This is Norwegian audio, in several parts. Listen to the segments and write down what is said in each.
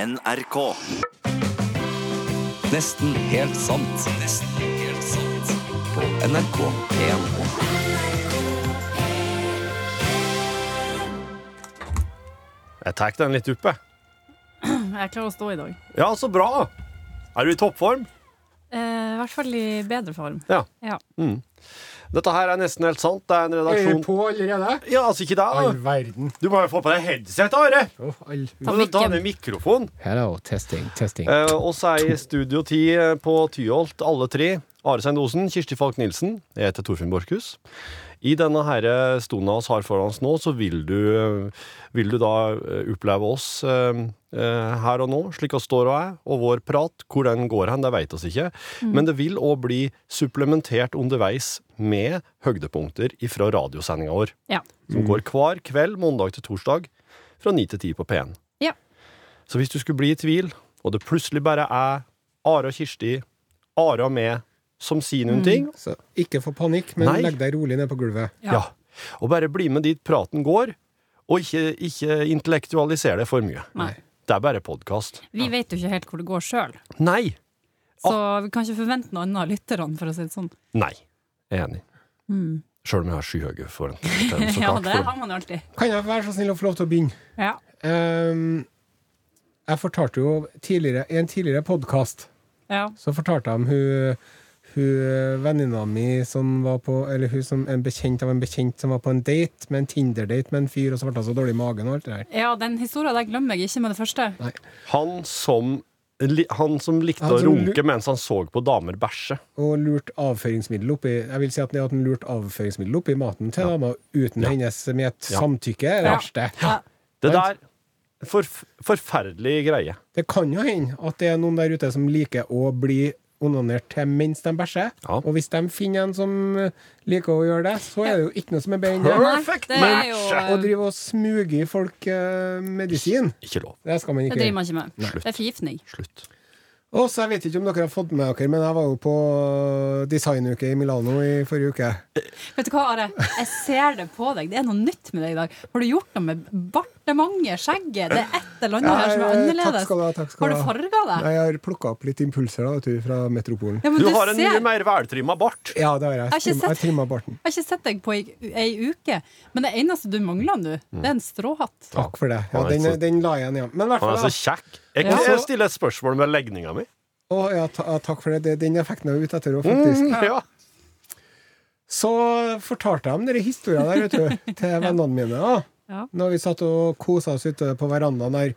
NRK. Nesten helt sant. Nesten helt sant. På NRK P1. Jeg tar den litt oppe. Jeg klarer å stå i dag. Ja, så bra! Er du i toppform? Eh, I hvert fall i bedre form. Ja. Ja. Dette her er nesten helt sant. Det er en Er redaksjon vi på allerede? Ja, altså ikke All deg. da. verden. Du må jo få på deg headset, Are. Oh, all... Du må ta med mikrofon. Hello, testing, testing. Eh, oss er i Studio 10 på Tyholt, alle tre. Are Sein Osen, Kirsti Falk Nilsen. Jeg heter Torfinn Borchhus. I denne her stunda vi har foran oss nå, så vil du, vil du da eh, oppleve oss eh, eh, her og nå, slik vi står og er, og vår prat, hvor den går hen, det veit oss ikke. Men det vil òg bli supplementert underveis med høydepunkter ifra radiosendinga vår, Ja. som Mm. går hver kveld, mandag til torsdag, fra 9 til 10 på P1. Ja. Så hvis du skulle bli i tvil, og det plutselig bare er Are og Kirsti, Are og meg, som sier Mm. noen ting, Så ikke få panikk, men Nei. legg deg rolig ned på gulvet. ja. Og bare bli med dit praten går, og ikke, ikke intellektualisere det for mye. Nei. Det er bare podkast. Vi vet jo ikke helt hvor det går sjøl, Nei! så vi kan ikke forvente noe annet av lytterne, for å si det sånn. Nei. Jeg er enig. Sjøl om jeg har skyhøye forventninger. så Mm. Ja, klart, det for- har man jo alltid. Kan jeg være så snill å få lov til å begynne? Ja. Ehm, jeg fortalte jo tidligere, i en tidligere podkast ja. så fortalte jeg om hun, hun venninna mi som var på Eller hun som en bekjent av en bekjent som var på en date med en Tinder-date med en fyr, og så ble han så dårlig i magen og alt det der. ja, den historia der glemmer jeg ikke med det første. Han som li- han som likte Han å som runke mens han så på damer bæsje. Og lurt avføringsmiddel oppi Jeg vil si at det at han lurt avføringsmiddel oppi maten til dama uten hennes med et Ja. samtykke, er det Ja. verste. Ja. Det der forf Forferdelig greie. Det kan jo hende at det er noen der ute som liker å bli onanert til mens de bæsjer. Ja. Og hvis de finner en som eh, liker å gjøre det, så er det jo ikke noe som er bedre enn det. Nei, Perfect det er jo Å drive og smuge i folk eh, medisin, Ikke lov. det skal man Det ikke driver gjøre. man ikke med. Det er forgiftning. Slutt. Og så jeg vet ikke om dere har fått med dere, men jeg var jo på eh, designuke i Milano i forrige uke. Vet du hva, Are? Jeg ser det på deg. Det er noe nytt med deg i dag. Har du gjort noe med bartementet, skjegget? Det er et eller annet her som Ja, er eh, annerledes. Takk skal du ha. Takk skal Har du farga deg? Nei, jeg har plukka opp litt impulser da, vet du, fra metropolen. Ja, men Du har en ser- mye mer veltrimma bart. Ja, det har jeg. har ikke Trim- Jeg sett- trimma barten. Jeg har ikke sett deg på ei, ei uke, men det eneste du mangler nå, det er en stråhatt. Takk for det. Ja, Han er den, så- den la jeg igjen, ja. Men i hvert Han fall, er da. så kjekk. Jeg, Ja. jeg stiller et spørsmål med legninga mi. Å ja, ta, ja, takk for det. det. Den effekten er jeg ute etter òg, Mm. faktisk. Ja. Så fortalte jeg om denne historien der, vet du, til vennene mine. da. Ja. Når vi satt og kosa oss ute på verandaen der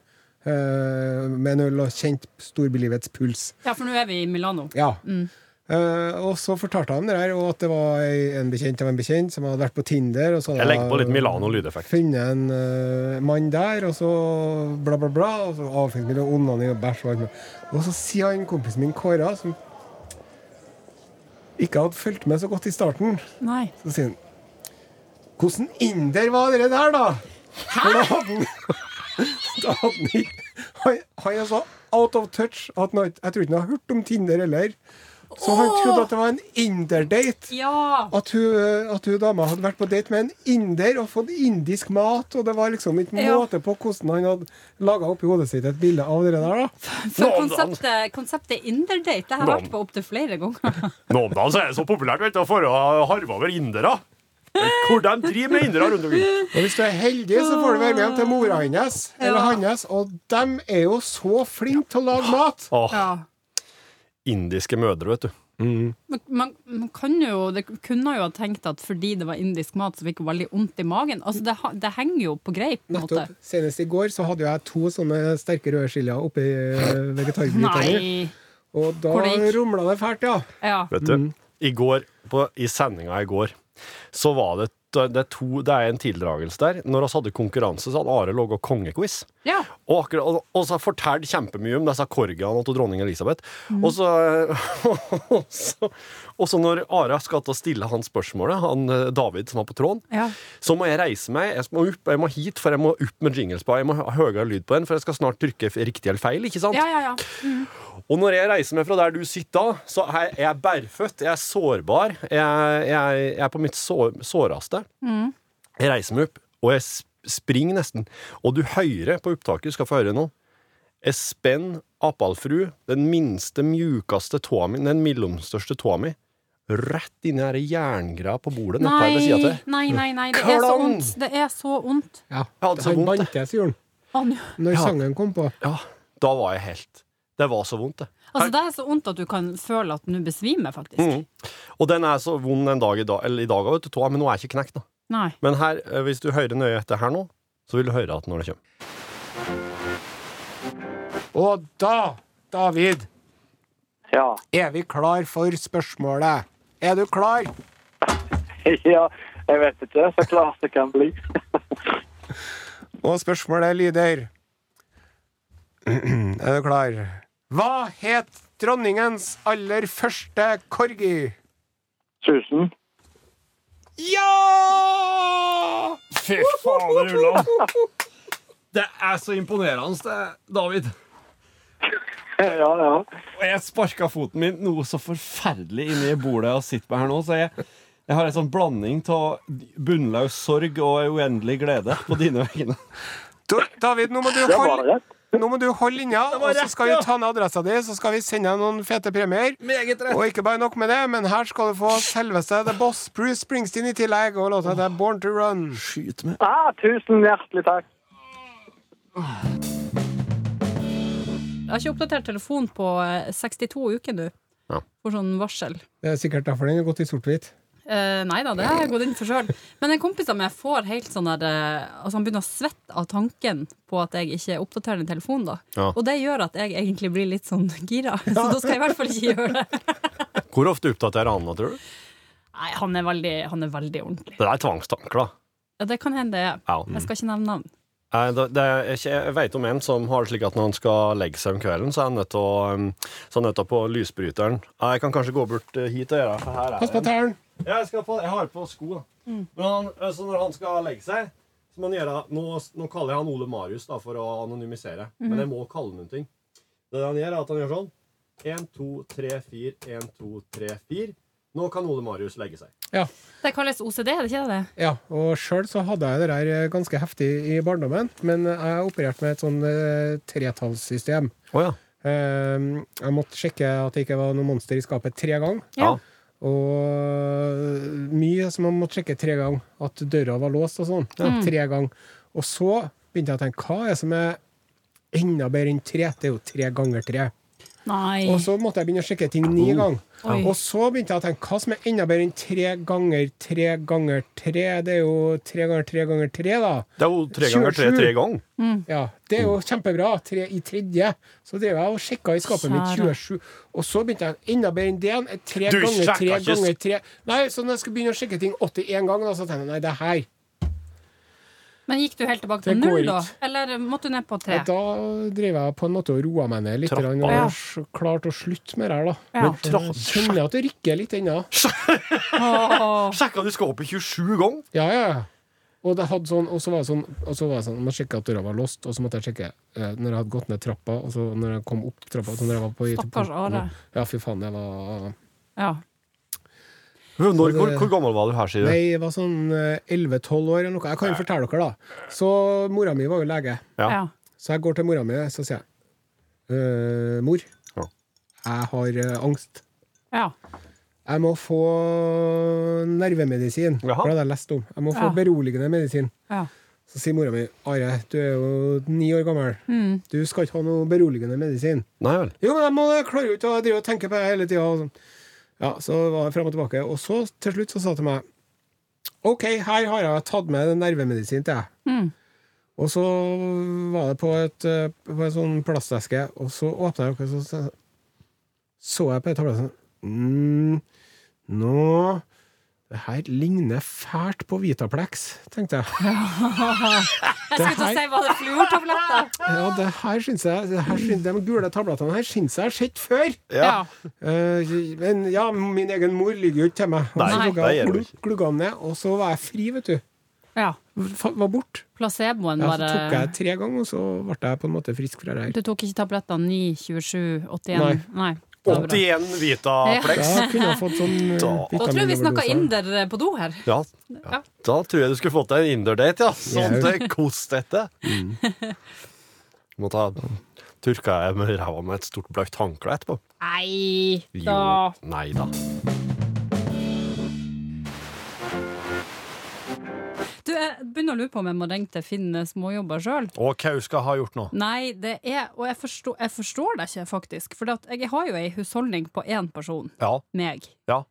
eh, med en øl og kjente storbelivets puls. Ja, for nå er vi i Milano. Ja. Mm. Eh, og så fortalte jeg om det der, og at det var ei- en bekjent av en bekjent som hadde vært på Tinder. Og så hadde Jeg legger på jeg litt Milano-lydeffekt. Funnet en eh, mann der, og så bla, bla, bla. Og så avføringsmiddel og onani og bæsj og alt mulig. Og så sier han kompisen min, Kåra, som ikke hadde fulgt med så godt i starten, Nei. så sier han Hvordan inder var dere der, da? For da hadde han Da hadde han ikke han, han er så out of touch at han, har- jeg tror ikke han har hørt om Tinder heller. Så han Åh! trodde at det var en inder-date. Ja! At hun, eh, at hun dama hadde vært på date med en inder og fått indisk mat, og det var liksom ikke Ja. måte på hvordan han hadde laga oppi hodet sitt et bilde av det der, da. For Nå, konseptet, konseptet Inderdate det har jeg vært på opptil flere ganger. Nå om dagen så er det så populært vet du, for å harve over indere. Hvor de driver med indere rundt omkring. Og hvis du er heldig, så får du være med hjem til mora hans eller Ja. hans, og dem er jo så flinke til å lage mat. Åh, indiske mødre, vet du. Men man, man kan jo, det kunne jo ha tenkt at fordi det var indisk mat, så fikk hun veldig vondt i magen. Altså, det, ha- det henger jo på greip. på en måte. Nettopp. Senest i går så hadde jo jeg to sånne sterke røde chilier oppi eh, vegetarbryta mi, Nei! og da Hvor det gikk. rumla det fælt, ja. Ja. Vet du, I går, på, i sendinga i går, så var det det er, to, det er en tildragelse der. Når vi hadde konkurranse, så hadde Are laga kongequiz. ja. Og, akkurat, og, og så har jeg fortalt kjempemye om disse korgene til dronning Elisabeth. Mm. Og, så, eh, og, så, og så når Ara skal til å stille han spørsmålet, han eh, David som var på tråden, Ja. så må jeg reise meg. Jeg må, opp, jeg må hit, for jeg må opp med jinglespa. Jeg må ha høyere lyd på den, for jeg skal snart trykke f- riktig eller feil. ikke sant? ja, ja, ja. Og når jeg reiser meg fra der du sitter da, så er jeg- jeg er bærføtt, jeg er sårbar, jeg, jeg, jeg er på mitt sår, såreste. Jeg reiser meg opp, og jeg sp- springer nesten. Og du hører på opptaket, du skal få høre nå, Espen Apalfru, den minste, mjukaste tåa mi, den mellomstørste tåa mi, rett inni her jerngreia på bordet nede her ved sida Nei, til. nei, nei, nei, det er så Klang! vondt. Det er så vondt. Ja, Jeg hadde så han vondt, jeg. bantes, gjorde han. Å, nå- Når Ja. sangen kom på. Ja, da var jeg helt Det var så vondt, det. Altså, det er så vondt at du kan føle at du besvimer, faktisk. Og den er så vond en dag i dag, eller i dag også, vet du, tåa, men nå er jeg ikke knekt, da. Nei. Men her, eh, hvis du hører nøye etter her nå, så vil du høre at når det kommer. Og da, David, Ja. er vi klar for spørsmålet. Er du klar? ja, jeg vet ikke. Så klart det kan bli. Og spørsmålet lyder Er du klar? Hva het dronningens aller første corgi? Tusen. Ja! Fy fader, Ulland. Det er så imponerende, det, David. Ja, ja. Og jeg sparka foten min noe så forferdelig inni bordet jeg sitter på her nå, så jeg, jeg har en sånn blanding av bunnløs sorg og en uendelig glede på dine vegne. Du, David, nå må du Det var holde det. nå må du holde unna, og så rett, skal vi ja. ta ned adressa di, så skal vi sende deg noen fete premier. Og ikke bare nok med det, men her skal du få selveste The Boss, Bruce Springsteen, i tillegg, og låta The Born to Run. Skyt meg. Ah, tusen hjertelig takk. Jeg har ikke oppdatert telefonen på eh, 62 uker nå. Ja. For sånn varsel. Det er sikkert derfor den er gått i sort-hvitt. Eh, nei da, det har jeg gått inn for sjøl. Men en kompis av meg får helt sånn der eh, Altså, han begynner å svette av tanken på at jeg ikke oppdaterer den telefonen, da. Ja. Og det gjør at jeg egentlig blir litt sånn gira. Så da skal jeg i hvert fall ikke gjøre det. Hvor ofte oppdaterer Anna, tror du? Nei, han er veldig, han er veldig ordentlig. Det der er tvangstanker, da. Ja, det kan hende det er. Ja. Jeg skal ikke nevne navn. Nei, Det, det er ikke, jeg vet om en som har det slik at når han skal legge seg om kvelden, så er han nødt til å um, Så er han nødt til å på lysbryteren. Nei, Jeg kan kanskje gå bort eh, hit og gjøre det, for her er Pass på det en- tærne. Ja, jeg, skal på, jeg har på sko, da. Men han, eh, så når han skal legge seg, så må han gjøre Nå, nå kaller jeg han Ole Marius da, for å anonymisere, men jeg må kalle han noen ting. Det han gjør, er at han gjør sånn. 1, 2, 3, 4, 1, 2, 3, 4. Nå kan Ole Marius legge seg. Ja. Det kalles OCD, er det ikke det? Ja, og sjøl så hadde jeg det der eh, ganske heftig i barndommen, men jeg opererte med et sånn eh, tretallssystem. Oh, ja. Eh, Jeg måtte sjekke at det ikke var noe monster i skapet tre ganger. Ja. Og mye som man måtte sjekke tre ganger. At døra var låst og sånn. Mm. Tre ganger. Og så begynte jeg å tenke hva er det som er enda bedre enn tre? Det er jo tre ganger tre. Nei. Og så måtte jeg begynne å sjekke ting Oh. ni ganger. Oi. Og så begynte jeg å tenke hva som er enda bedre enn tre ganger tre ganger tre? Det er jo tre ganger tre ganger tre, da. Det er jo tre ganger tre tre ganger. Ja, Det er jo kjempebra. Tre i tredje. Så drev jeg og sjekka i skapet mitt Kjære. 27, og så begynte jeg enda bedre enn det igjen. Et Tre Du ganger tre sjekka ikke ganger tre. Nei, så når jeg skulle begynne å sjekke ting 81 ganger, da, så tenkte jeg nei, det her Men gikk du helt tilbake Det til går null, ikke. da? Eller måtte du ned på tre? Og Da drev jeg på en måte og roa meg ned litt Trappa grann, og ned. s- klarte å slutte med det her, da. Ja. Så jeg Kjenner at det rykker litt ennå. Åh. Sjekka du skal opp i 27 ganger? Ja, ja. ja. Og, det hadde sånn, og så var det sånn, og så var det sånn man sjekka at døra var låst, og så måtte jeg sjekke eh, når jeg hadde gått ned trappa, og så når jeg kom opp trappa så når jeg var på, Stakkars Are. Ja, fy faen, jeg var Ja. Når, det- hvor, hvor gammel var du her, sier du? Nei, jeg var sånn eh, 11-12 år eller noe. Jeg kan jo fortelle dere, da. Så mora mi var jo lege. Ja. ja. Så jeg går til mora mi, så sier jeg «Øh, Mor, Ja. jeg har eh, angst. ja. Jeg må få nervemedisin. Jaha. For det hadde jeg lest om. Jeg må få Ja. beroligende medisin. ja. Så sier mora mi Are, du er jo ni år gammel. Du skal ikke ha noe beroligende medisin. Nei vel. Jo, men jeg må jeg klarer jo ikke å drive og tenke på det hele tida. Ja, så var jeg frem og tilbake. Og så til slutt så sa hun til meg OK, her har jeg tatt med en nervemedisin til deg. Mm. Og så var det på, et, eh, på en sånn plasteske, og så åpna jeg opp, og så så jeg på en tavle sånn mm, Nå Det her ligner fælt på Vitaplex, tenkte jeg. Jeg skulle til å si, var det fluortabletter? Ja, det her syns jeg, det her syns, De gule tablettene her syns jeg jeg har sett før. Ja. Eh, men ja, min egen mor lyver jo ikke til meg. Og Nei, så Nei. tok jeg det gjør hun glug- glugga den ned, og så var jeg fri, vet du. ja. Fa- Var bort. Placeboen Ja, så bare tok jeg tre ganger, og så ble jeg på en måte frisk fra det her. Du tok ikke tablettene 9, 27, 81? Nei. det var bra. 81 Vitaplex. Da kunne jeg fått sånn eh, Da- Da tror jeg vi snakka vitaminøverdoser. inder eh, på do her. Ja. Ja. Da tror jeg du skulle fått deg en inderdate, ja. Sånn Jau. til kos dette. Må ta tørka jeg med ræva med et stort bløtt håndkle etterpå. Nei Jo, da. nei da. Du, jeg begynner å lure på om jeg må ringe til Finn eh, småjobber sjøl. Og Kauska har gjort noe. Nei, det er Og jeg forstår, jeg forstår deg ikke, faktisk. For at jeg har jo ei husholdning på én person. Ja. Meg. Ja.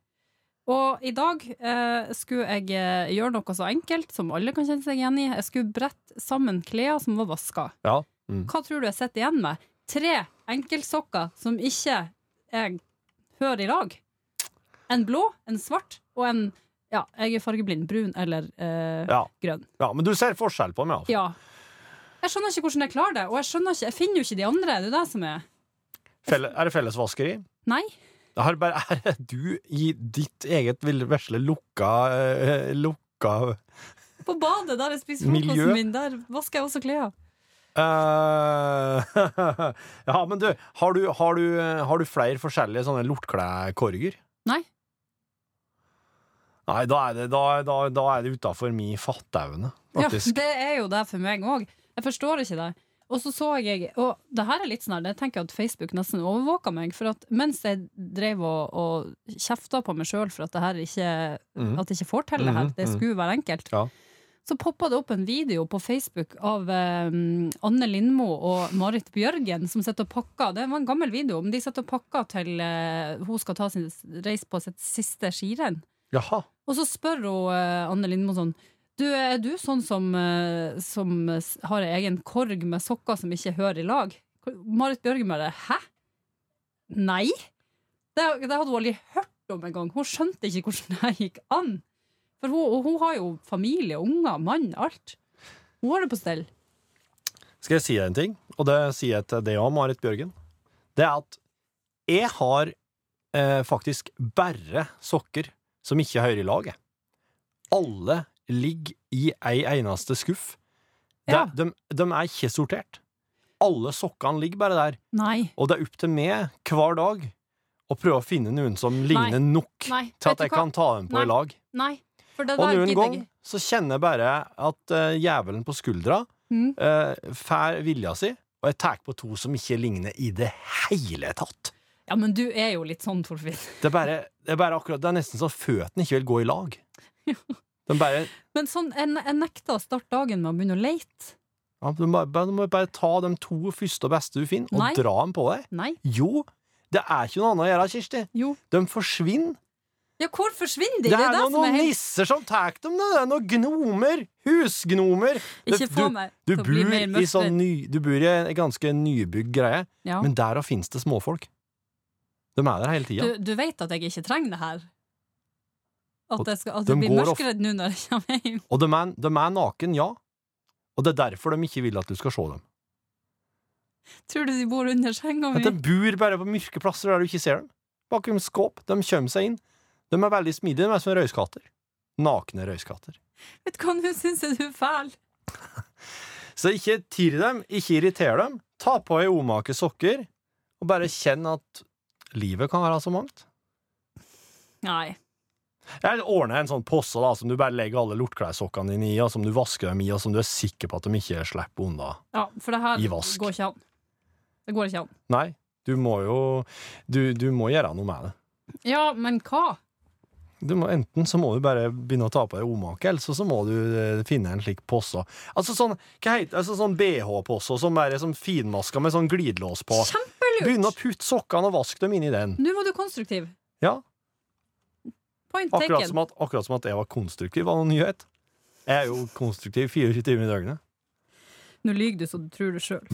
Og i dag eh, skulle jeg eh, gjøre noe så enkelt som alle kan kjenne seg igjen i. Jeg skulle brette sammen klær som var vaska. ja. Hva tror du jeg sitter igjen med? Tre enkeltsokker som ikke jeg hører i lag. En blå, en svart og en Ja, jeg er fargeblind. Brun eller eh, Ja. grønn. ja. Men du ser forskjell på meg. altså. Ja. Jeg skjønner ikke hvordan jeg klarer det, og jeg, skjønner ikke, jeg finner jo ikke de andre. Det er jo det som er Felle, er det fellesvaskeri? Nei. Det har bare, er du i ditt eget vill- vesle lukka, eh, lukka På badet, der jeg spiser frokosten Miljø. min, der vasker jeg også klær. Eh, ja, men du, har du, har du, eh, har du flere forskjellige sånne lortklekorger? Nei. Nei, da er det, da, da, da er det utafor mi fatteevne, Ja, faktisk. det er jo det for meg òg. Jeg forstår ikke det. Og så så jeg Og det her er litt sånn her, jeg tenker at Facebook nesten overvåka meg. For at mens jeg drev og, og kjefta på meg sjøl for at det her ikke At jeg ikke får til det her, Mhm, det mhm. skulle være enkelt, Ja. så poppa det opp en video på Facebook av eh, Anne Lindmo og Marit Bjørgen som sitter og pakker. Det var en gammel video, men de sitter og pakker til eh, hun skal ta sin reis på sitt siste skirenn. Jaha. Og så spør hun eh, Anne Lindmo sånn du, Er du sånn som, eh, som eh, s- har en egen korg med sokker som ikke hører i lag? Marit Bjørgen bare Hæ? Nei? Det, det hadde hun aldri hørt om engang. Hun skjønte ikke hvordan det gikk an. For hun, og hun har jo familie, unger, mann, alt. Hun har det på stell. Skal jeg si deg en ting, og det sier jeg til deg òg, Marit Bjørgen. Det er at jeg har eh, faktisk bare sokker som ikke hører i lag. jeg. Alle ligger i ei eneste skuff. Det- Ja. De, de er ikke sortert. Alle sokkene ligger bare der. Nei. Og det er opp til meg hver dag å prøve å finne noen som ligner nok Nei, til vet at du jeg hva? kan ta dem på Nei. i lag. Nei. For det Og der noen gidder jeg gang ikke. så kjenner jeg bare at eh, jævelen på skuldra Mm. eh, fær vilja si, og jeg tar på to som ikke ligner i det hele tatt. Ja, men du er jo litt sånn, Torfinn. Det er bare, det er bare akkurat Det er nesten så føttene ikke vil gå i lag. De bare Men sånn, jeg, jeg nekter å starte dagen med å begynne å leite. ja, du må, bare- du må bare ta de to første og beste du finner, og Nei. dra dem på deg. Nei. Jo, det er ikke noe annet å gjøre, Kirsti. Jo. De forsvinner. Ja, hvor forsvinner de? Det er det noen, som er helt- nisser som tar dem, det. det er noen gnomer. Husgnomer. Ikke Det- få meg du, til du å bli bor mer i mørkredd. sånn ny, Du bor i en ganske nybygd greie, Ja. men der fins det småfolk. De er der hele tida. Du, du vet at jeg ikke trenger det her? At, Og jeg skal, at de jeg blir går of- mørkredd nå når jeg kommer hjem? Og de er, de er naken, ja. Og det er derfor de ikke vil at du skal se dem. Tror du de bor under senga At mi? de bor bare på mørke plasser der du ikke ser dem. Bakom skåp. De kommer seg inn. De er veldig smidige. De er som røyskatter. Nakne røyskatter. Vet du hva, nå syns jeg du er fæl. Så ikke tirr dem, ikke irriter dem. Ta på ei omake sokker, og bare kjenn at livet kan være så mangt. Nei. Jeg ordner en sånn posse da, som du bare legger alle lortkleissokkene dine i, og som du vasker dem i, og som du er sikker på at de ikke slipper unna. Ja, for det her I vask. går ikke an. Det går ikke an. Nei, du må jo Du, du må gjøre noe med det. Ja, men hva? Du må, enten så må du bare begynne å ta på deg omake, eller så, så må du eh, finne en slik posse. Altså sånn, hva heter, altså sånn BH-posse som er sånn finmaska med sånn glidelås på. Begynn å Kjempelurt! putte sokkene og vask dem inni den. Nå var du konstruktiv. Ja, Point Akkurat som, taken. at, akkurat som at jeg var konstruktiv, var noen nyhet. Jeg er jo konstruktiv 24 timer i døgnet. Nå lyver du så du tror det sjøl.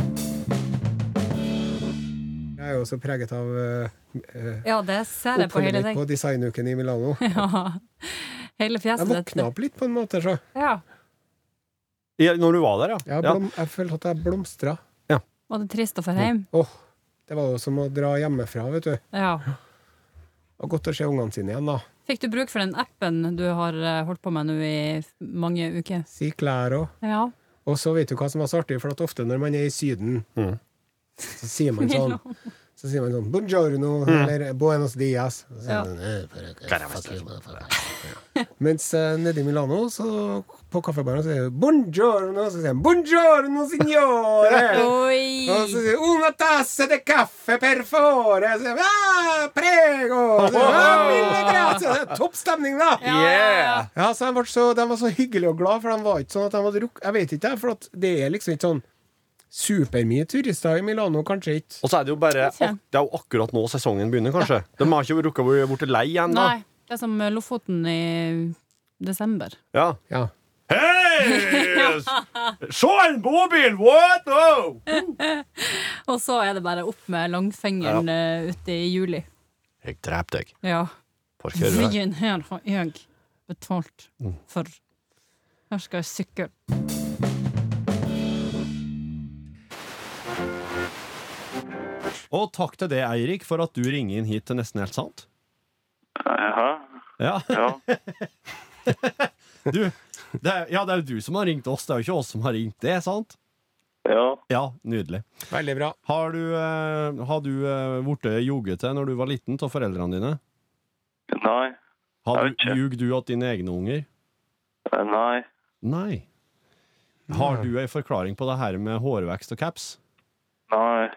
Jeg er jo også preget av eh, eh, Ja, det ser jeg på oppholdet hele mitt deg. på designuken i Milano. Ja. Hele Jeg fjeset våkna opp litt, på en måte. Så. Ja. Ja, når du var der, ja. Jeg, Ja. blom, jeg følte at jeg blomstra. Var det trist å få hjem? Åh, det var jo som å dra hjemmefra, vet du. Ja. Og godt å se ungene sine igjen, da. Fikk du bruk for den appen du har eh, holdt på med nå i f- mange uker? Si klær òg. Ja. Og så vet du hva som er så artig, for at ofte når man er i Syden, så sier man sånn Milano. Så Så sier man sånn Buongiorno eller Buenos dias. Så sier Ja. man, «Eh, for- fuck you, motherfucker». Ja. Mens eh, nede i Milano, så på kaffebaren, så sier de Buongiorno, så sier de Buongiorno, signore! Oi! Og så sier de, Una tasse de caffè per favore! Så sier de, ah, prego! Så sier de, ah, mille grazie! Det er Topp stemning, da! Ja, ja, ja. Ja, så de, ble så, de var så hyggelige og glad for de var ikke sånn at de hadde rukk... Jeg vet ikke, jeg, for at det er liksom ikke sånn supermye turister i Milano, kanskje ikke. Og så er det jo bare Kanskje. ak- Det er jo akkurat nå sesongen begynner, kanskje. De har ikke rukka å bli borte lei ennå. Nei, det er som Lofoten i desember. Ja. Ja. Hei! Se en bobil! What? No! Og så er det bare opp med langfingeren eh, ute i juli. Jeg drepte deg. Ja. Parkerer deg. Byen her har jeg betalt for. Her skal jeg sykle. Og takk til deg, Eirik, for at du ringer inn hit til Nesten helt sant. Jaha. Ja, Ja. du, det er, ja, det er jo du som har ringt oss, det er jo ikke oss som har ringt det, sant? ja. Ja, nydelig. Veldig bra. Har du, eh, har du eh, vært ljuget til når du var liten av foreldrene dine? Nei. Har Jeg vet du ikke. ljugd du til dine egne unger? Eh, Nei. Nei. Har du ei forklaring på det her med hårvekst og caps? Nei.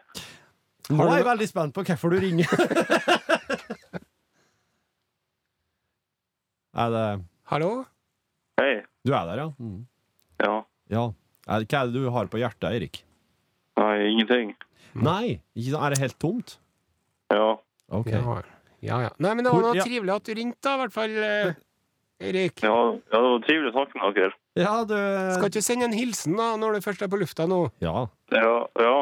Nå er jeg veldig spent på hvorfor du ringer. er det Hallo? Hei. Du er der, ja? Mm. Ja. Ja. Er, hva er det du har på hjertet, Eirik? Nei, ingenting. Nei! Ikke, sant? er det helt tomt? Ja. Ok. Ja. ja, ja. Nei, men det var Hvor- noe ja. trivelig at du ringte, da, i hvert fall, eh, Erik. Ja, ja, det var trivelig å snakke med dere. Ja, du Skal ikke du sende en hilsen, da, når du først er på lufta nå? Ja. Ja, ja.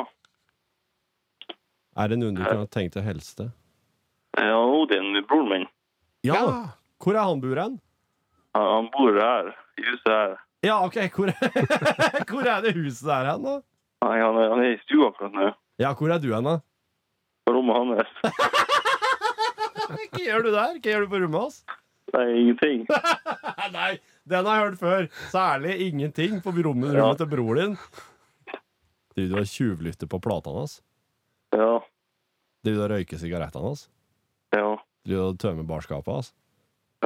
Er det noen du kunne tenkt deg å hilse til? Ja, Odin, broren min, Ja! Hvor er han bor hen? han- han bor her, i huset her. Ja, OK, hvor, hvor er det huset der hen, da? Nei, han er, han er i stua akkurat nå, Ja, hvor er du hen, da? på rommet hans. Hva gjør du der? Hva gjør du på rommet hans? Nei, ingenting. Nei, den har jeg hørt før. Særlig ingenting på rommet rommet til broren din. Du, du har tjuvlyttet på platene hans. Ja, Du, du har røyket sigarettene hans. ja, Du, du har tømt barskapet hans.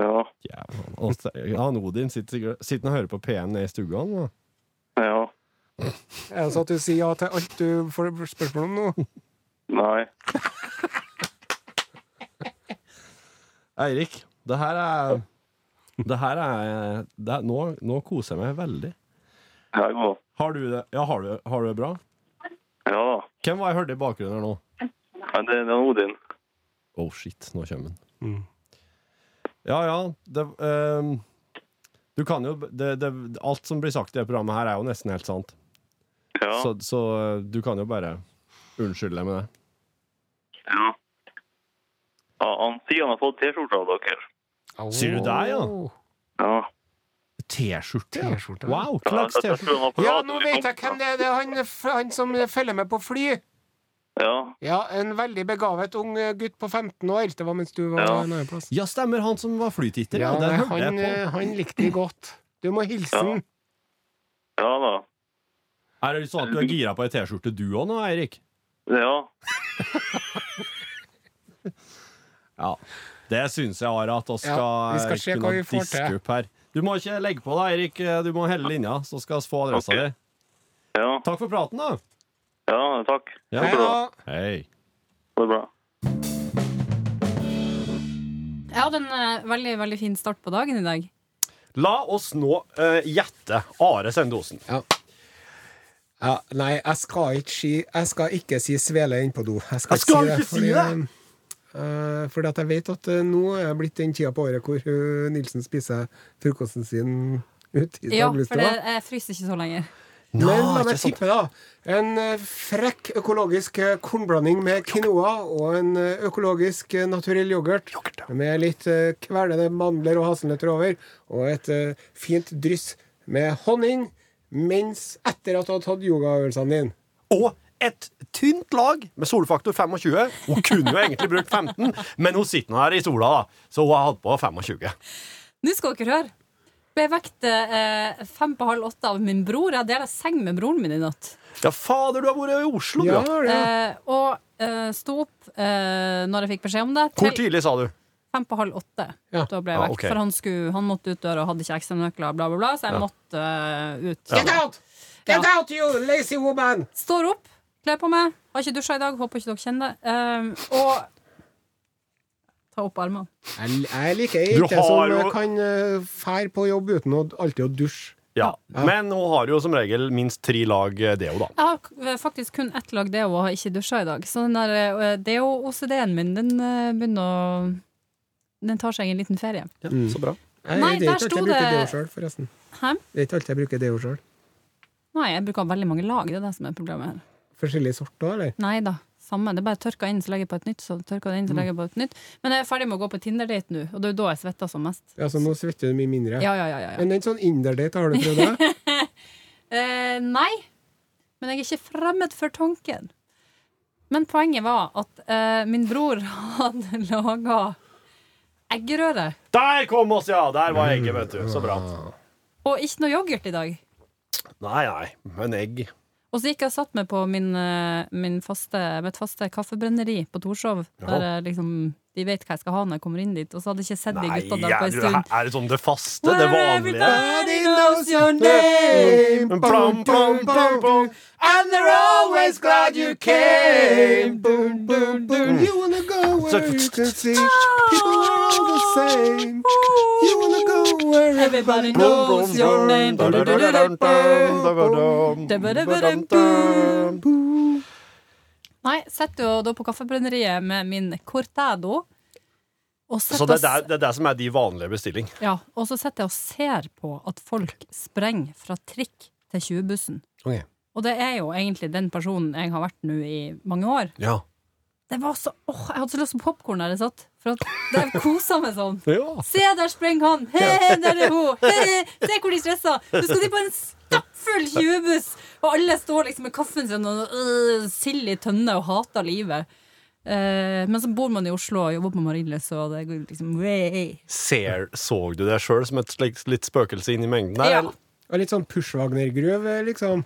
ja, Jævla. Og så- Han Odin sitter, sikkert- sitter og hører på PM nede i stua. han, da. ja. Er det sånn at du sier ja til alt du får spørsmål om nå? Nei. Eirik, det her er det her er, det er nå, nå koser jeg meg veldig. Jeg går. Har du det, ja, har du, har du det bra? Ja da. Hvem var jeg hørte i bakgrunnen her nå? Men det, det er Odin. Oh shit, nå kommer den. Mm. Ja, ja. Det, ehm, du kan jo det, det, Alt som blir sagt i det programmet her, er jo nesten helt sant. Ja, Så, så eh, du kan jo bare unnskylde deg med det. ja. ja han sier han har fått T-skjorta av dere. Sier du der, ja? Ja. T-skjorte? ja. T-skjorte, ja. Wow, Ja, klags jeg T-skjorte. tror han har Ja, forlatt nå oss i vet jeg kampen. hvem det er. Det er han, han som følger med på fly. Ja, Ja, en veldig begavet ung eh, gutt på 15 år. Det var mens du var Ja. en annen plass. Ja, stemmer, han som var flytitter. Ja, Ja, den nei, hørte han, jeg på. eh, han likte de godt. Du må hilse Ja. Hm. han. ja da. Er det sånn at du er gira på ei T-skjorte du òg nå, Eirik? Ja, Ja. Det syns jeg, Ara, at oss Ja, skal, eh, vi skal se hva vi får diske til. opp her. Du må ikke legge på deg, Eirik. Du må helle linja, så skal vi få adressa Ok. di. ja, Takk for praten, da. ja, takk. Ja. Hei, da. Hei. Det er bra. Jeg hadde en eh, veldig, veldig fin start på dagen i dag. La oss nå eh, gjette Are Sendosen. Ja, nei, jeg skal ikke si Jeg skal ikke si svele inn på do. Jeg skal, Jeg skal ikke si fordi, eh, fordi at jeg vet at eh, nå er jeg blitt den tida på året hvor eh, Nilsen spiser frokosten sin ute i Ja, for det, dagligstua. jeg fryser ikke så lenger. Men la ikke sånn. meg sant. tippe, da. En eh, frekk økologisk eh, kornblanding med quinoa og en eh, økologisk eh, naturell yoghurt med litt eh, kvelende mandler og hasselnøtter over, og et eh, fint dryss med honning mens etter at du har tatt yogaøvelsene dine. Og et tynt lag med solfaktor 25. Hun kunne jo egentlig brukt 15, men hun sitter nå her i sola, da. Så hun har hatt på 25. Nå skal dere høre. Ble vekt eh, fem på halv åtte av min bror. Jeg deler seng med broren min i natt. Ja, fader, du har vært i Oslo, Ja, du. ja. Eh, og eh, sto opp eh, når jeg fikk beskjed om det. Hvor Til tidlig sa du? fem på halv åtte. Ja. Da ble jeg Ja, vekk. ok. For han, skulle, han måtte ut døra og hadde ikke ekstranøkler, bla, bla, bla, så jeg Ja. måtte eh, ut. Get out! Get Ja. out, you lazy woman! Står opp, kler på meg. Har ikke dusja i dag, håper ikke dere kjenner det. Um, og ta opp armene. Jeg, jeg liker ei Du jente som har jo- kan eh, fær på jobb uten å alltid å dusje. Ja. Men hun har jo som regel minst tre lag eh, deo, da. Jeg har k- faktisk kun ett lag deo og har ikke dusja i dag. Så den der eh, deo-OCD-en min, den eh, begynner å Den tar seg en liten ferie. Så bra. Jeg, Nei, der det er ikke alltid sto jeg bruker deo det- sjøl, forresten. Hæ? Det er ikke alltid jeg bruker deo sjøl. Nei, jeg bruker veldig mange lag. Det er det som er problemet her. Forskjellige sorter, eller? Nei da. Samme. Det er bare tørka inn, så legger jeg på et nytt. Så tørka det inn, så Mm. legger jeg på et nytt. Men jeg er ferdig med å gå på Tinder-date nå, og det er jo da jeg svetter som mest. Ja, så nå svetter du mye mindre. Ja, ja, ja, ja, ja. Men en sånn inderdate, har du prøvd det? Eh, nei, men jeg er ikke fremmed for tanken. Men poenget var at eh, min bror hadde laga eggerøre. Der kom oss, ja! Der var egget, vet du. Så bra. Og ikke noe yoghurt i dag. Nei, nei. Men egg. Og så gikk jeg og satte meg på min, eh, min faste, mitt faste kaffebrenneri på Torshov. Der jeg liksom, de vet hva jeg skal ha når jeg kommer inn dit. Og så hadde jeg ikke sett de Nei, gutta der er, på en du- stund. er det sånn det faste? Det vanlige? Everybody knows your name. Plom, plom, plom, plom. And they're always glad you came. Boom, boom, boom. You wanna go where you can see people are all the same. You wanna go where Everybody everybody knows your name. Nei, setter jo da på kaffebrenneriet med min cortado. Og Så setter det er, der, det er der som er de vanlige bestilling. oss- ja, og så sitter jeg og ser på at folk sprenger fra trikk til 20-bussen. Ok. Og det er jo egentlig den personen jeg har vært nå i mange år. Ja. Det var så, åh, Jeg hadde så lyst på popkorn der jeg satt, for at det kosa meg sånn. Ja. Se, der sprenger han! He, he, der er hun! He, he. Se hvor de stressa! Nå skal de på en stappfull 20-buss! Og alle står liksom med kaffen sin og øh, sild i tønne og hater livet. Eh, men så bor man i Oslo og jobber på Marienlyst, og det går liksom way. Ser, så du deg sjøl som et slikt litt spøkelse inn i mengden der? Ja. eller? Og litt sånn Pushwagner-gruv, liksom.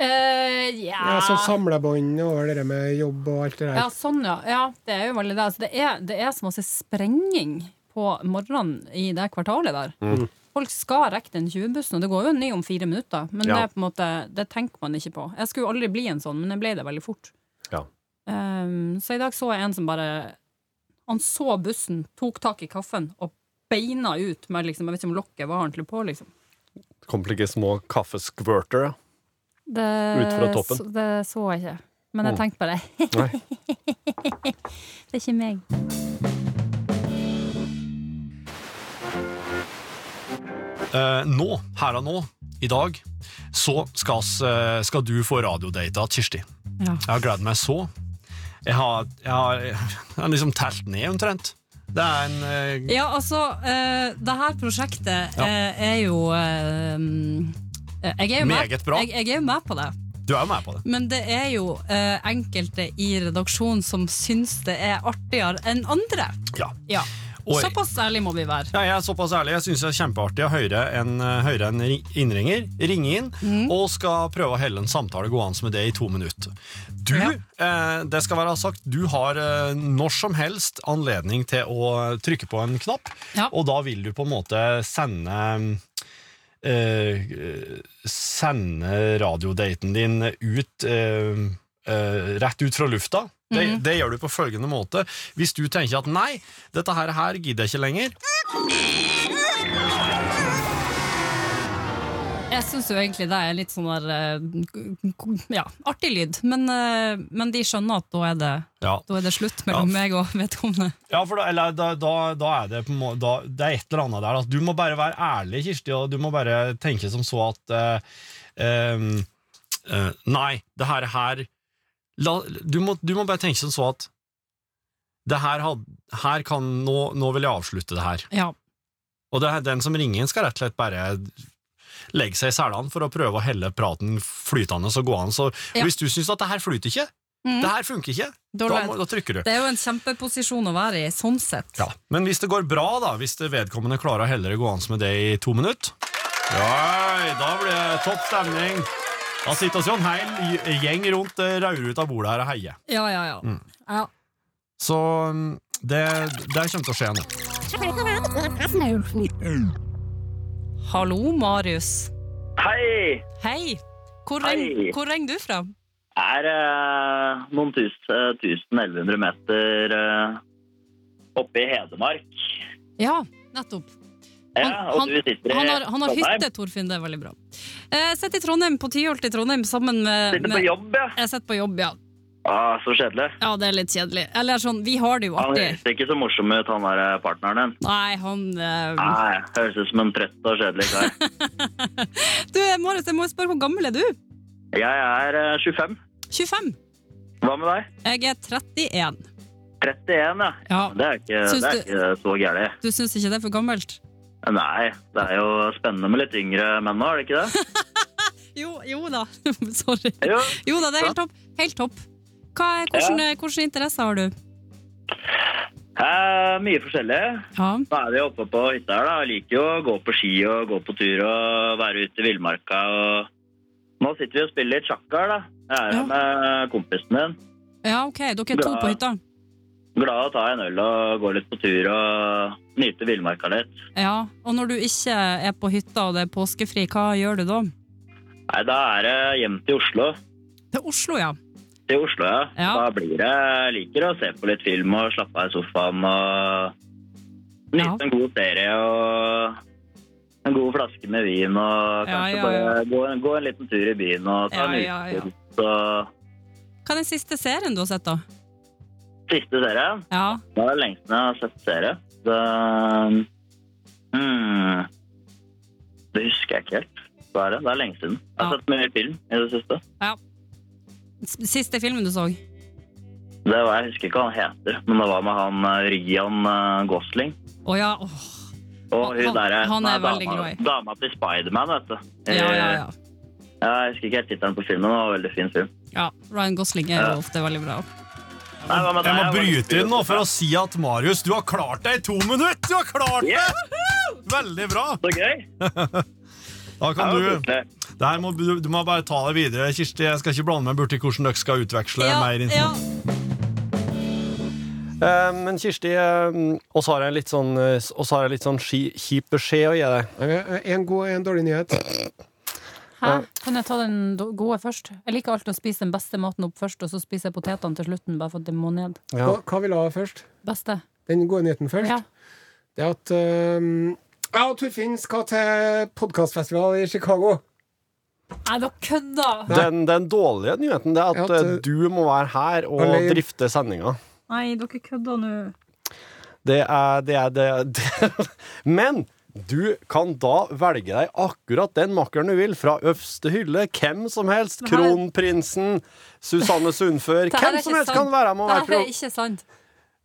Eh, ja. Ja, sånn samlebånd over det der med jobb og alt det der. ja, sånn, ja. ja. Det er jo veldig det. Altså, det, er, det er som å se sprenging på morgenen i det kvartalet der. Mm. Folk skal rekke den 20-bussen, og det går jo en ny om fire minutter. Men Ja. det, er på en måte, det tenker man ikke på. Jeg skulle jo aldri bli en sånn, men jeg ble det veldig fort. Ja. Um, så i dag så jeg en som bare Han så bussen, tok tak i kaffen og beina ut med liksom, Jeg vet ikke om lokket var ordentlig på, liksom. Kom det ikke små kaffeskvørter? ja? Det, Ut fra toppen. Så, det så jeg ikke. Men jeg tenkte bare Nei. Det er ikke meg. Eh, nå, her og nå, i dag, så skal, s- eh, skal du få radiodata til Kirsti. Ja. Jeg har gledet meg så. Jeg har, jeg har, jeg har liksom telt ned omtrent. Det er en eh, Ja, altså, eh, det her prosjektet Ja. eh, er jo eh, mm, jeg er jo med, Meget bra. Jeg, jeg er jo med på det, Du er jo med på det. men det er jo eh, enkelte i redaksjonen som syns det er artigere enn andre. Ja. Ja. Oi. Såpass ærlig må vi være. Ja, jeg er såpass ærlig. Jeg syns det er kjempeartig å høre en, eh, høre en ri- innringer ringe inn og skal prøve å helle en samtale gående med det i to minutter. Du, eh, det skal være sagt, du har eh, når som helst anledning til å trykke på en knapp, Ja. og da vil du på en måte sende eh, eh, Sende radiodaten din ut eh, eh, rett ut fra lufta. Det, det gjør du på følgende måte. Hvis du tenker at nei, dette her, her gidder jeg ikke lenger, Jeg syns jo egentlig det er litt sånn der eh, k- k- Ja, artig lyd, men, eh, men de skjønner at da er det, Ja. da er det slutt mellom meg og vedkommende. Ja, for da, eller, da, da, da er det på en må- da, Det er et eller annet der. Altså, du må bare være ærlig, Kirsti, og du må bare tenke som så at eh, ehm, eh, Nei, det her her la, du, må, du må bare tenke som så at det her, had, her kan nå, nå vil jeg avslutte det her. Ja. Og det, er- den som ringer inn, skal rett og slett bare legge seg i selene for å prøve å helle praten flytende og gående. Så Ja. hvis du syns at det her flyter ikke, Mm. det her funker ikke, Da da, er det- må, da trykker du. Det er jo en kjempeposisjon å være i, sånn sett. Ja. Men hvis det går bra, da, hvis det vedkommende klarer å heller gå an med det i to minutter Nei, da blir det topp stemning. Da sitter vi jo en hel gjeng rundt eh, rødruta bordet her og heier. Ja, ja, ja. Mm. ja. Så mm, det, det kommer til å skje nå. Hallo, Marius. Hei! Hei. Hvor, Hei. Reng, hvor ringer du fra? Er eh, noen tusen, eh, 1100 meter eh, oppe i Hedmark. Ja, nettopp. Ja, og Han- du sitter i Han har, han har Trondheim. hytte, Torfinn. Det er veldig bra. Eh, sitter i Trondheim, på Tyholt i Trondheim sammen med, Sitter på med jobb, ja. Jeg sitter på jobb, ja. Ah, så kjedelig. Ja, det er litt kjedelig. Eller sånn, vi har det jo Han artig. høres ikke så morsom ut, han der eh, partneren din. Nei, han eh, Nei, høres ut som en trøtt og kjedelig kar. Du, eh, Marius, jeg må jo spørre, hvor gammel er du? Jeg er eh, 25. 25. Hva med deg? Jeg er 31. 31, ja. Ja. Det er ikke, Syns det er du- ikke så gærent. Du syns ikke det er for gammelt? Nei, det er jo spennende med litt yngre menn nå, er det ikke det? Jo, jo da. Sorry. Jo. Jo da, det er helt topp. Helt topp. Hva er, hvordan, eh, hvordan interesser har du? Eh, mye forskjellig. Ja. Nå er vi oppe på hytta her, da. Jeg liker jo å gå på ski og gå på tur og være ute i villmarka. Og... Nå sitter vi og spiller litt sjakk her, da. Jeg er Ja. her med kompisen min. ja, OK. Dere er to Ja. på hytta? Glad å ta en øl og gå litt på tur og nyte villmarka litt. Ja. Og når du ikke er på hytta og det er påskefri, hva gjør du da? Nei, da er det hjem til Oslo. Til Oslo, ja. Til Oslo, ja. Ja. Da blir det Jeg liker å se på litt film og slappe av i sofaen og nyte Ja. en god serie og en god flaske med vin og Ja, ja, kanskje ja. bare gå, gå en liten tur i byen og ta Ja, en ja, ja. utetur. Så Hva er den siste serien du har sett, da? Siste serien? Ja. Det er lenge siden jeg har sett serie. Det, hmm, det husker jeg ikke helt. Det er, det. det er lenge siden. Jeg har Ja. sett mye film i det siste. S- Siste filmen du så? Det var, jeg husker ikke hva han heter, men det var med han eh, Ryan eh, Gosling. Å ja. Åh. Og hun Han- der, eh, han er nei, veldig dama, glad i. dama til Spiderman, vet du. Ja, ja, Eh, ja. Jeg husker ikke helt tittelen på filmen. men Det var en veldig fin film. ja. Ryan Gosling er jo ofte veldig bra. Nei, hva med Jeg må deg? Var det- bryte inn nå for å si at Marius, du har klart deg i to minutter! Du har klart det! Ja, Veldig bra! Så gøy! Da Det kan var du, koselig. det her må, du, du må bare ta det videre. Kirsti, jeg skal ikke blande meg borti hvordan dere skal utveksle Ja, mer ja. informasjon. Eh, Men Kirsti, og så har jeg litt sånn, eh, oss har jeg litt sånn ski- kjip beskjed å gi deg. Eh, En god og en dårlig nyhet. Hæ? Kan jeg ta den do- gode først? Jeg liker alltid å spise den beste maten opp først, og så spiser jeg potetene til slutten, bare for at det må ned. Hva, hva vil du ha først? Beste. Den gode nyheten først? Ja. Det er at eh, jeg og Torfinn skal til podkastfestival i Chicago. Nei, dere kødder! Den, den dårlige nyheten det er at Ja, at, eh, du må være her og Alene. drifte sendinga. Nei, dere kødder nå. Det er det, er, det, er- det. Men du kan da velge deg akkurat den makkeren du vil, fra øverste hylle. Hvem som helst. Men her- Kronprinsen, Susanne Sundfør. Det her er Hvem som ikke helst sant. kan være med og Det være her er pro. ikke sant.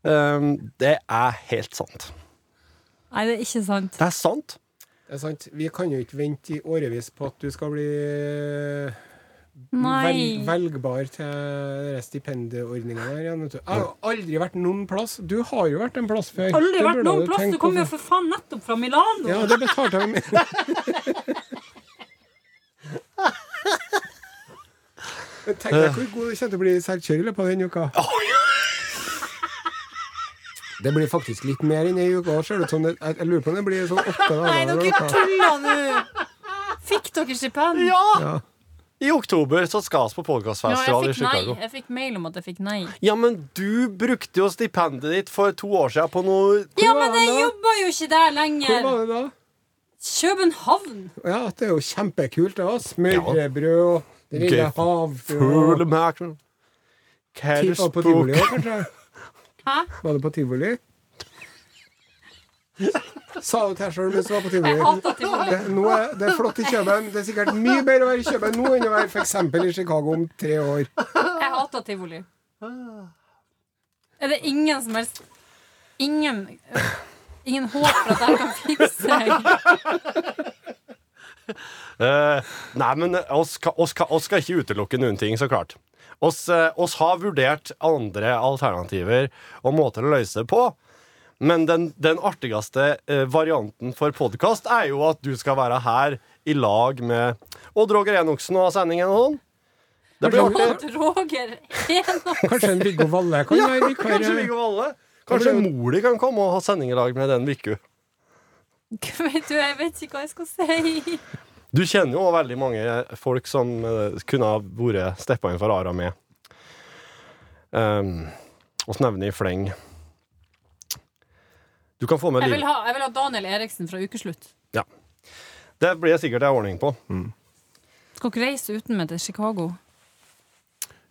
Um, Det er helt sant. Nei, det er ikke sant. Det er sant. Det er sant. Vi kan jo ikke vente i årevis på at du skal bli eh, vel, Nei. velgbar til stipendordninga der igjen. Vet du. Jeg har jo aldri vært noen plass. Du har jo vært en plass før. Det Aldri vært burde noen du plass! tenke Du kommer på. jo for faen nettopp fra Milano! Ja, det betalte jeg med. Men Tenk deg hvor god du kommer til å bli i selvkjør i løpet av den uka. Det blir faktisk litt mer enn ei uke. Ser det ut som det, jeg jeg lurer på om det blir sånn åtte Nei, dager. eller dere noe. tuller nå! Fikk dere stipend? Ja, I oktober så skal vi på podkastfestival i jeg fikk nei. Chicago. Jeg fikk mail om at jeg fikk nei. Ja, men du brukte jo stipendet ditt for to år siden på noe Ja, var men han jeg da? jobba jo ikke der Hvor lenger! var det da? København! Ja, det er jo kjempekult. det, da. Smørrebrød og det lille Gøy. havfrua. Full mackerel. Hva er det Tippa på språk? tivoli òg, kanskje? Hæ? Var du på tivoli? Sa du til deg sjøl mens du var på Jeg tivoli? hater tivoli. Det, nå er, det er flott i København. Det er sikkert mye bedre å være i København nå enn å være f.eks. i Chicago om tre år. Jeg hater tivoli. Er det ingen som helst Ingen Ingen håp for at jeg kan fikse Eh, nei, men eh, oss ka- oss ka- oss skal ikke utelukke noen ting, så klart. Oss, eh, oss har vurdert andre alternativer og måter å løse det på. Men den, den artigste eh, varianten for podkast er jo at du skal være her i lag med Odd Roger Enoksen og sendingen og sånn. Det blir artig. Odd Roger Enoksen. Kanskje en Viggo Valle kan Ja, være kanskje vikar? Viggo Valle. Kanskje mor di kan komme og ha sending i lag med den Vikku. Vet du, jeg vet ikke hva jeg skal si. Du kjenner jo veldig mange folk som eh, kunne ha vært steppa inn for Ara med. Um, og nevne i fleng. Du kan få med Jeg liv. vil ha, jeg vil ha Daniel Eriksen fra ukeslutt. Det blir jeg sikkert en ordning på. Skal dere reise uten meg til Chicago?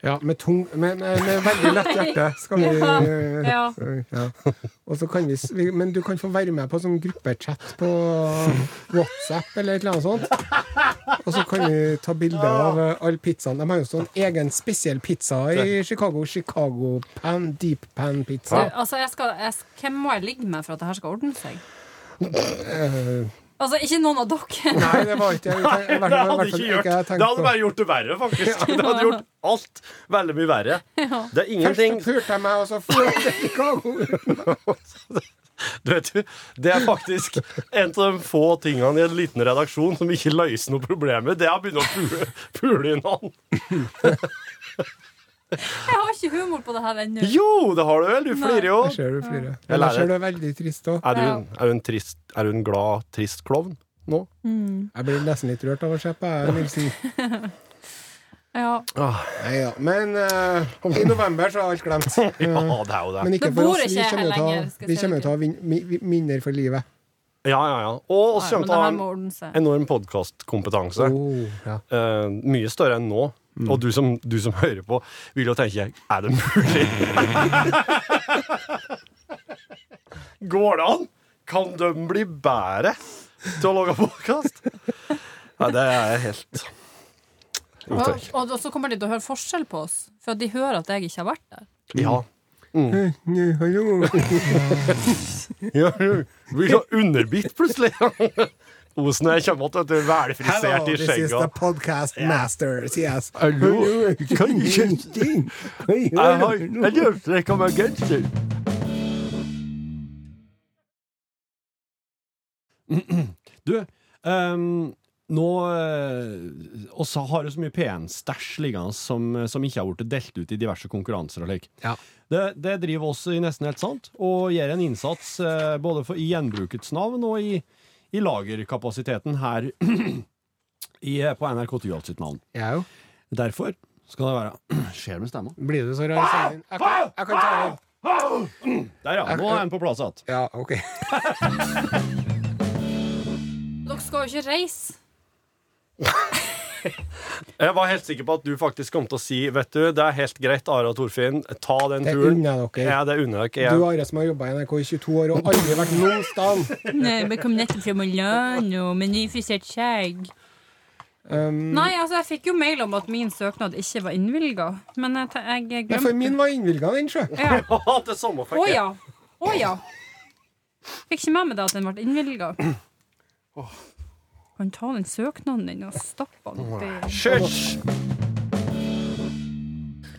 Ja, med, tung, med, med, med veldig lett hjerte skal vi Ja. eh, Ja. ja. Og så kan vi, s- vi Men du kan få være med på sånn gruppechat på WhatsApp eller et eller annet sånt. Og så kan vi ta bilde av eh, all pizzaen. De har jo sånn egen spesiell pizza i Chicago. Chicago pan, deep pan pizza. Altså, jeg skal, jeg, hvem må jeg ligge med for at det her skal ordne seg? Eh, Altså, ikke noen av dere. Nei, det var ikke jeg tenkte- i hvert Det fall- i hadde, hvert fall ikke ikke gjort, jeg det tenkte hadde på. bare gjort det verre, faktisk. Det hadde gjort alt veldig mye verre. Det er ingenting Først pulte jeg meg, og så fløy til Chicago. du vet, jo, Det er faktisk en av de få tingene i en liten redaksjon som ikke løser noe problemer. Det er å begynne å pule, pule inn han. Jeg har ikke humor på det her ennå. Jo, det har du vel? Du flirer jo. Der ser du flere. Jeg Der lærer. ser du veldig trist òg. Er du, en, er, du en trist, er du en glad, trist klovn nå? Jeg blir nesten litt rørt av å se på deg, Nilsen. Ja. Nei da. Men eh, i november så er alt glemt. Ja, det er jo det. Men ikke Det for bor oss. Vi ikke kommer her jo til å lenger, ha- skal vi jeg si kommer jo dere. til å ha vin- mi- vi- minner for livet. Ja, ja, ja. Og oss Nei, kommer til men å det ha her en må ordne seg. enorm podkastkompetanse. Oh, ja. Eh, mye større enn nå. Mm. Og du som, du som hører på, vil jo tenke Er det mulig? Går det an? Kan de bli bedre til å lage podkast? Nei, det er helt Og, Utenk. og, og så kommer de til å høre forskjell på oss, for at de hører at jeg ikke har vært der. Ja. Nei, hallo. ja. Du blir så underbitt plutselig. Osen jeg kommer til å bli velfrisert i this is the skjegget. podcast masters, yes. Hallo, kan du Ingenting. Oi, Jeg har hallo. jeg løftrekka meg genser. Du, ehm, nå eh, også har du så mye P1-stæsj liggende som, som ikke har blitt delt ut i diverse konkurranser og lik. Ja. Det, det driver oss i nesten helt sant, og gjør en innsats eh, både for, i gjenbrukets navn og i, i lagerkapasiteten her i, eh, på NRK Tyholt sitt navn. Jeg er jo. Derfor skal det være Skjer med stemma. Blir du så rar i stemmen? Jeg kan, jeg kan ta den. Der, ja. Nå er den på plass igjen. Ja, OK. Dere skal jo ikke reise. Jeg var helt sikker på at du faktisk kom til å si Vet du, det er helt greit, Ara og Torfinn. Ta den Det turen. unner jeg dere. Ja, det unner dere. Du, Jeg. Are, som har jobba i NRK i 22 år og aldri vært noen sted. Nei, jeg kom nettopp fra Milano med nyfrisert skjegg. Um, Nei, altså, jeg fikk jo mail om at min søknad ikke var innvilga, men jeg, te- jeg ja, for glemte min var innvilga, den, sjø. ja. Ja, det samme Å fikk jeg. ja. Å ja. Fikk ikke med meg det at den ble innvilga. Kan ta den søknaden din og stappe den oppi Kjørs!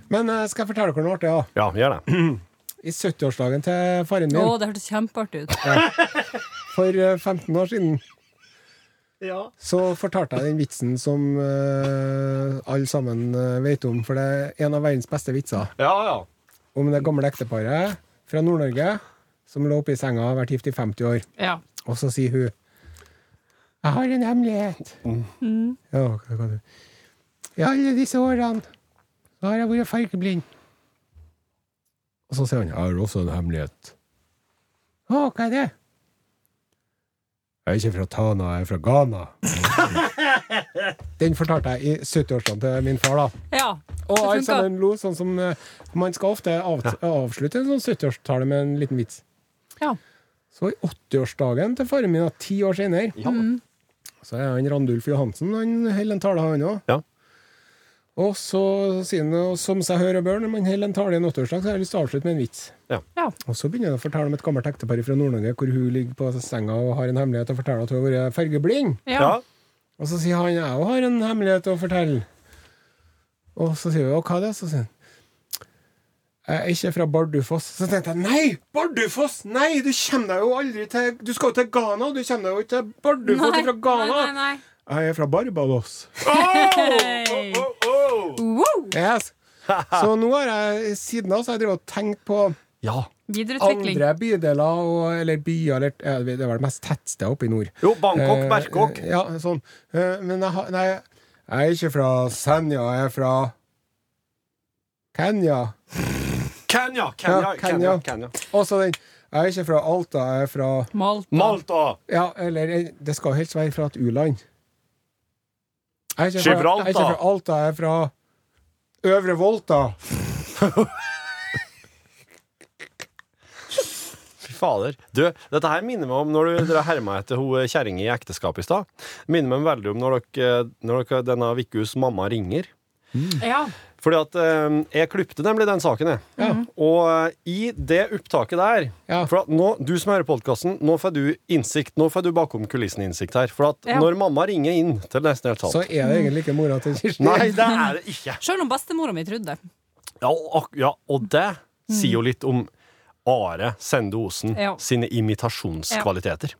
Men eh, skal jeg fortelle dere noe artig? Ja. Ja, gjør det. I 70-årsdagen til faren min Å, det hørtes kjempeartig ut. for eh, 15 år siden Så fortalte jeg den vitsen som eh, alle sammen eh, vet om, for det er en av verdens beste vitser. Ja, ja. Om det gamle ekteparet fra Nord-Norge som lå oppe i senga og har vært gift i 50 år. Ja. Og så sier hun Jeg har en hemmelighet. Ja, hva kan du? I alle disse årene så har jeg vært fargeblind. Og så sier han Jeg har også en hemmelighet. Å, hva er det? Jeg er ikke fra Tana, jeg er fra Ghana. Den fortalte jeg i 70-årsdagen til min far, da. ja. Og Det alle funka. sammen lo sånn som eh, Man skal ofte av, avslutte en sånn 70-årstale med en liten vits. Ja. Så i 80-årsdagen til faren min, da, ti år senere, så er han Randulf Johansen han holder en tale, han òg. Ja. Og så sier han, og som seg hør og bør, når man holder en tale i en 80-årsdag, så har jeg lyst til å avslutte med en vits. Ja. Ja. Og så begynner han å fortelle om et gammelt ektepar fra Nord-Norge hvor hun ligger på senga og har en hemmelighet og forteller at hun har vært fargeblind. ja. Ja. Og så sier han jeg også har en hemmelighet å fortelle. Og så sier hun «Ja, hva er det? Så sier han jeg er ikke fra Bardufoss. Så tenkte jeg nei! Bardufoss! Nei, du kommer deg jo aldri til Du skal jo til Ghana, og du kommer deg jo ikke til Bardufoss fra Ghana! nei, nei. Jeg er fra Barbados. Hei! Wow! Yes. Så nå har jeg siden da så har jeg drevet og tenkt på Ja. Videreutvikling. andre bydeler og, eller byer eller ja, Det var det mest tettstedet oppe i nord. Jo, Bangkok, Eh, Berkåk. eh, Ja, sånn. Eh, Men jeg, har- nei, jeg er ikke fra Senja, jeg er fra Kenya. Kenya, Ja, Kenya. Og så den Jeg er ikke fra Alta, jeg er fra Malta. Malta. Ja, eller en- Det skal helst være fra et u-land. Jeg er ikke fra- Gibraltar. Jeg er ikke fra Alta, jeg er fra Øvre Volta. Fy fader. Du, dette her minner meg om når du dere herma etter hun kjerringa i ekteskapet i stad. Minner meg veldig om når dere, eh, når dere denne ukas mamma ringer. Ja. Fordi at eh, jeg klipte nemlig den saken, jeg. Og eh, i det opptaket der Ah. Ja. For at nå, du som hører podkasten, nå får du innsikt. Nå får du bakom kulissene-innsikt her. For at Ja. når mamma ringer inn til Nesten helt sant Så er det egentlig ikke mora til Kirsti. Nei, det er det ikke. Sjøl om bestemora mi trodde det. Ja, og, ak- ja, og det sier jo litt om Are Sende Osen Mm. Ja. Mm. sine imitasjonskvaliteter.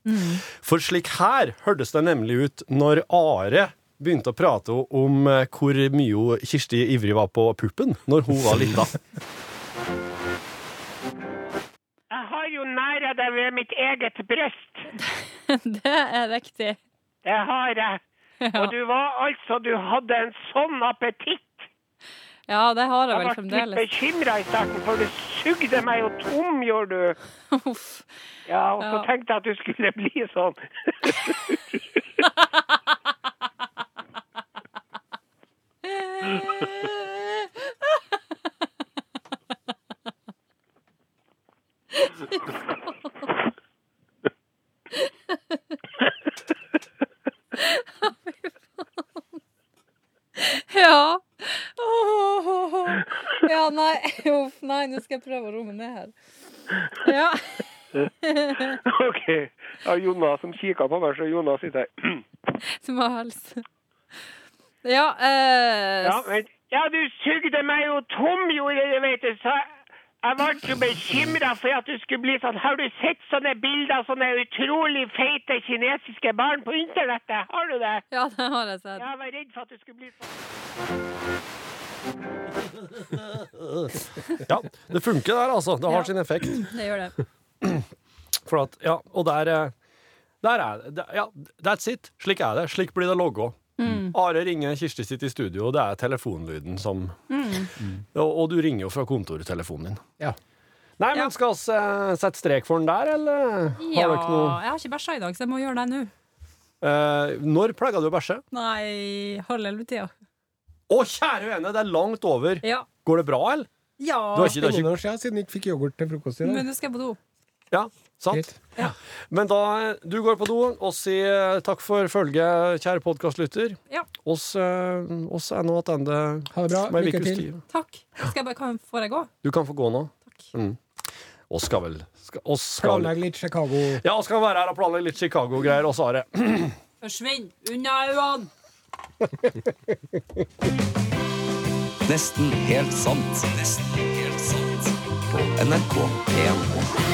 For slik her hørtes det nemlig ut når Are begynte å prate om eh, hvor mye hun- Kirsti ivrig var på puppen når hun var lita. Jeg har jo næra det ved mitt eget bryst. Det er riktig. Det har jeg. Og du var altså Du hadde en sånn appetitt. Ja, det har jeg Jeg vel ble litt fremdeles. bekymra i starten, for du sugde meg jo tom, gjorde du. Uff. Ja, Og Ja. så tenkte jeg at du skulle bli sånn. Ja. Åh, åh, åh. Ja, nei, uff, nei, nå skal jeg prøve å roe meg ned her. Ja. OK. Ja, Jonas som kikka på meg, så Jonas sitter her. Du må helse. Ja, eh, Ja, vent. Ja, du sugde meg jo tom, gjorde du, vet du. Så jeg ble så bekymra for at du skulle bli sånn. Har du sett sånne bilder av sånne utrolig feite kinesiske barn på internettet? Har du det? ja, det har jeg sett. Jeg var redd for at du skulle bli sånn. Ja, det funker der, altså. Det har Ja. sin effekt. Det gjør det. For at, ja, og der, eh, der er det. der- Ja, that's it. Slik er det. Slik blir det logga. Are ringer Kirsti sitt i studio, og det er telefonlyden som Mm. og, og du ringer jo fra kontortelefonen din. Ja. Nei, men skal vi eh, sette strek for den der, eller? Ja, Har dere noe? jeg har ikke bæsja i dag, så jeg må gjøre det nå. Eh, når pleier du å bæsje? Nei, halv elleve-tida. Å, kjære vene, det er langt over. Ja. Går det bra, eller? Ja, Du har ikke, du har Ingen ikke år siden siden jeg ikke fikk yoghurt til frokost i dag. men nå skal jeg på do. Ja, sant? Greit. Men da eh, du går på do, og sier takk for følget, kjære podkastlytter. Ja. Oss, eh, oss er nå attende Ha det bra. om ei Lykke ukes til. tid. Takk. Skal jeg bare, kan, får jeg gå? Du kan få gå nå. Takk. Mm. Oss skal vel skal, oss skal, Planlegg litt Chicago. Ja, oss kan være her og planlegge litt Chicago-greier, oss, Are. Forsvinn unna øynene! Nesten helt sant. Nesten helt sant. På NRK P1.